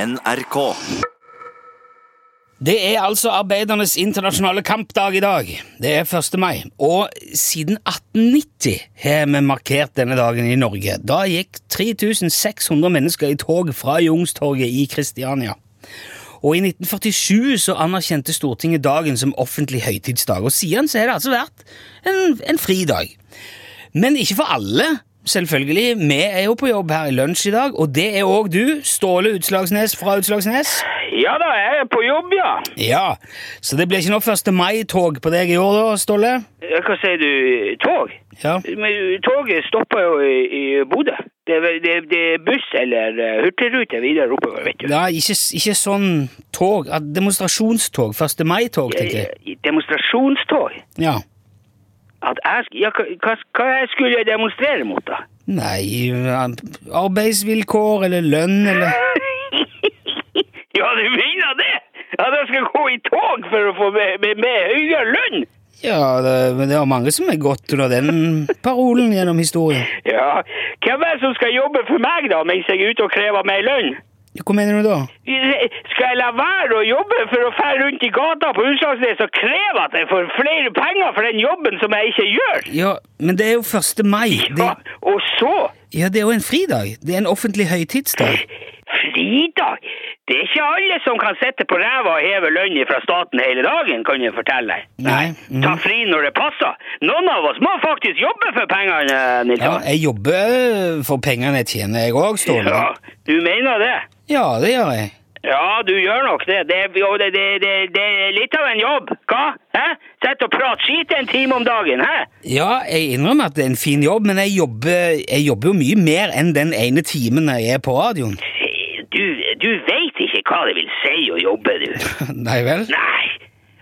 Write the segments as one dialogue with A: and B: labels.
A: NRK.
B: Det er altså arbeidernes internasjonale kampdag i dag. Det er 1. mai. Og siden 1890 har vi markert denne dagen i Norge. Da gikk 3600 mennesker i tog fra Youngstorget i Kristiania. Og i 1947 så anerkjente Stortinget dagen som offentlig høytidsdag, og siden så har det altså vært en, en fridag. Men ikke for alle, selvfølgelig. Vi er jo på jobb her i lunsj i dag, og det er òg du, Ståle Utslagsnes fra Utslagsnes.
C: Ja da, jeg er på jobb, ja.
B: Ja, så det blir ikke noe 1. mai-tog på deg i år da, Ståle?
C: Hva sier du? Tog?
B: Ja.
C: Men toget stopper jo i, i Bodø. Det er, vel- det, er- det er buss eller eh, hurtigrute videre oppover, vet du.
B: Ja, ikke, s- ikke sånn tog, at demonstrasjonstog, 1. mai-tog, tenker jeg.
C: Eh, Demonstrasjonstog?
B: Ja.
C: At jeg, sk- ja, hva- hva, hva jeg skulle jeg demonstrere mot, da?
B: Nei, ja, arbeidsvilkår eller lønn eller
C: ja, du mener det? At jeg skal gå i tog for å få med, med, med høyere lønn?
B: Ja, det, men det er mange som er gått under den parolen gjennom historien.
C: Ja, hvem er det som skal jobbe for meg, da, mens jeg er ute og krever mer lønn?
B: Hva mener du da?
C: Skal jeg la være å jobbe for å fære rundt i gata på Utslagsnes og kreve at jeg får flere penger for den jobben som jeg ikke gjør?
B: Ja, men det er jo 1. mai. Det,
C: Ja, og så
B: ja, det er jo en fridag. Det er en offentlig høytidsdag.
C: fridag! Det er ikke alle som kan sitte på ræva og heve lønn fra staten hele dagen, kan jeg fortelle deg.
B: Nei. mhm.
C: Ta fri når det passer. Noen av oss må faktisk jobbe for pengene, Nils.
B: Ja, jeg jobber for pengene jeg tjener, jeg òg, Ståle.
C: ja, du mener det?
B: Ja, det gjør jeg.
C: Ja, du gjør nok det. Det, er- jo, det, det, det, det er litt av en jobb. Hva? Hæ? Sett og prat skit en time om dagen, hæ?
B: Ja, jeg innrømmer at det er en fin jobb, men jeg jobber, jeg jobber jo mye mer enn den ene timen jeg er på radioen.
C: Du, du veit ikke hva det vil si å jobbe, du.
B: Nei vel?
C: Nei.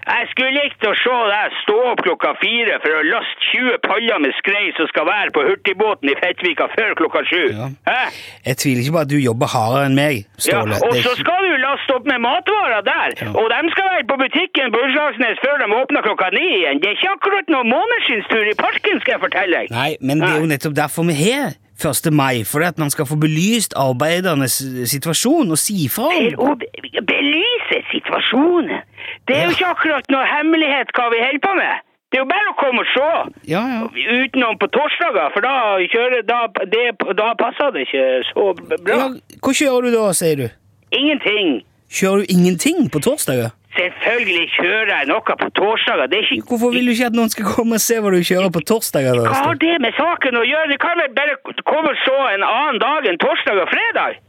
C: Jeg skulle likt å se deg stå opp klokka fire for å laste 20 paller med skrei som skal være på hurtigbåten i Fettvika før klokka sju.
B: Ja.
C: Hæ?
B: Jeg tviler ikke på at du jobber hardere enn meg,
C: Ja,
B: Ståle.
C: og
B: Det er
C: så
B: ikke-
C: skal du laste opp med matvarer der,
B: Ja.
C: og de skal være på butikken på Utslagsnes før de åpner klokka ni igjen. Det er ikke akkurat noen månedskinnstur i parken, skal jeg fortelle deg.
B: Nei, men det er jo nettopp derfor vi har 1. mai, fordi at man skal få belyst arbeidernes situasjon og si fra
C: Til å
B: om
C: be- belyse situasjonen. Det er jo ikke akkurat noe hemmelighet hva vi holder på med. Det er jo bare å komme og se.
B: Ja, ja.
C: Utenom på torsdager, for da, kjører, da, det, da passer det ikke så bra.
B: ja. Hva kjører du da, sier du?
C: Ingenting.
B: Kjører du ingenting på torsdager?
C: Selvfølgelig kjører jeg noe på torsdager. Det er ikke...
B: Hvorfor vil du ikke at noen skal komme og se hva du kjører på torsdager? da,
C: Hva
B: Ståle?
C: har det med saken å gjøre? Du kan vel bare komme og se en annen dag enn torsdag og fredag?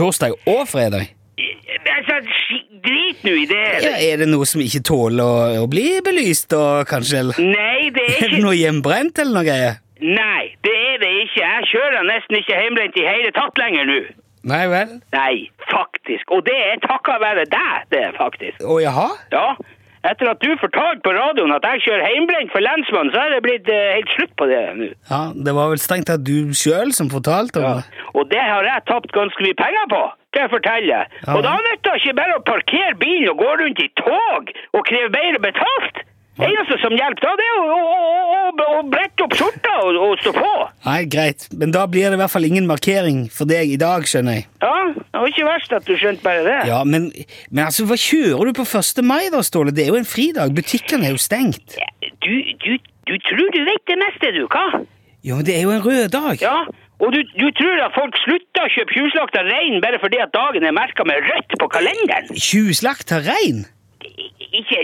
B: Torsdag og fredag?
C: Altså, sk- drit nå i det.
B: Ja, er det noe som ikke tåler å, å bli belyst, og kanskje eller?
C: Nei, det er
B: Er det
C: ikke...
B: noe hjemmebrent eller noe greier?
C: Nei, det er det ikke. Jeg kjører nesten ikke hjembrent i hele tatt lenger nå.
B: Nei vel.
C: Nei, faktisk. Og det er takket være deg, det er faktisk.
B: Å jaha?
C: Ja, etter at du fortalte på radioen at jeg kjører heimbrent for lensmannen, så er det blitt eh, helt slutt på det nå.
B: Ja, det var vel strengt tatt du sjøl som fortalte om det.
C: Og det har jeg tapt ganske mye penger på, kan jeg fortelle.
B: Ja.
C: Og da nytter det ikke bare å parkere bilen og gå rundt i tog og kreve bedre betalt. Det eneste som hjelper da, det er å, å, å, å, å brette opp skjorta og, og stå på.
B: Nei, greit. Men da blir det i hvert fall ingen markering for deg i dag, skjønner jeg.
C: Ja, det var ikke verst at du skjønte bare det.
B: Ja, men, men altså, hva kjører du på 1. mai da, Ståle? Det er jo en fridag. Butikkene er jo stengt.
C: Du, du, du tror du vet det meste, du, hva?
B: Jo, men det er jo en rød dag.
C: Ja, og du, du tror at folk slutter å kjøpe tjuvslakta rein bare fordi at dagen er merka med rødt på kalenderen?
B: Tjuvslakt av rein?
C: I- Ikke,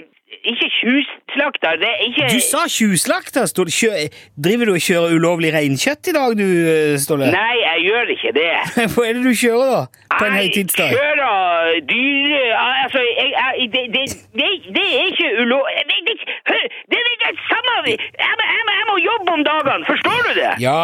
C: ikke tjuvslakta, det er ikke
B: Du sa tjuvslakt, da, Ståle. Kjø- Driver du og kjører ulovlig reinkjøtt i dag, du, eh, Ståle?
C: Nei, jeg gjør ikke det.
B: Hva er det du kjører, da? På en
C: Jeg
B: høytidsdag?
C: kjører dyre Altså, jeg, jeg, det, det, det, det er ikke ulov... Det, det, hør, det er ikke det samme jeg, må- jeg, må- jeg må jobbe om dagene, forstår du det?
B: Ja.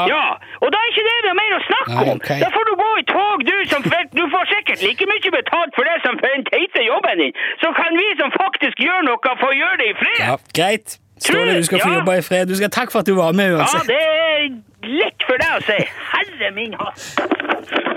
C: Og da er ikke det noe mer å snakke
B: Nei,
C: om.
B: ok.
C: Da får du gå i tog, du som vet- Du får sikkert like mye betalt for det som for den teite jobben din. Så kan vi som faktisk gjør noe, få gjøre det i fred.
B: Ja, greit. Ståle, du skal få
C: Ja.
B: jobbe i fred. Du skal Takk for at du var med,
C: Ja,
B: uansett.
C: det er lett for deg å si. Herre min hatt.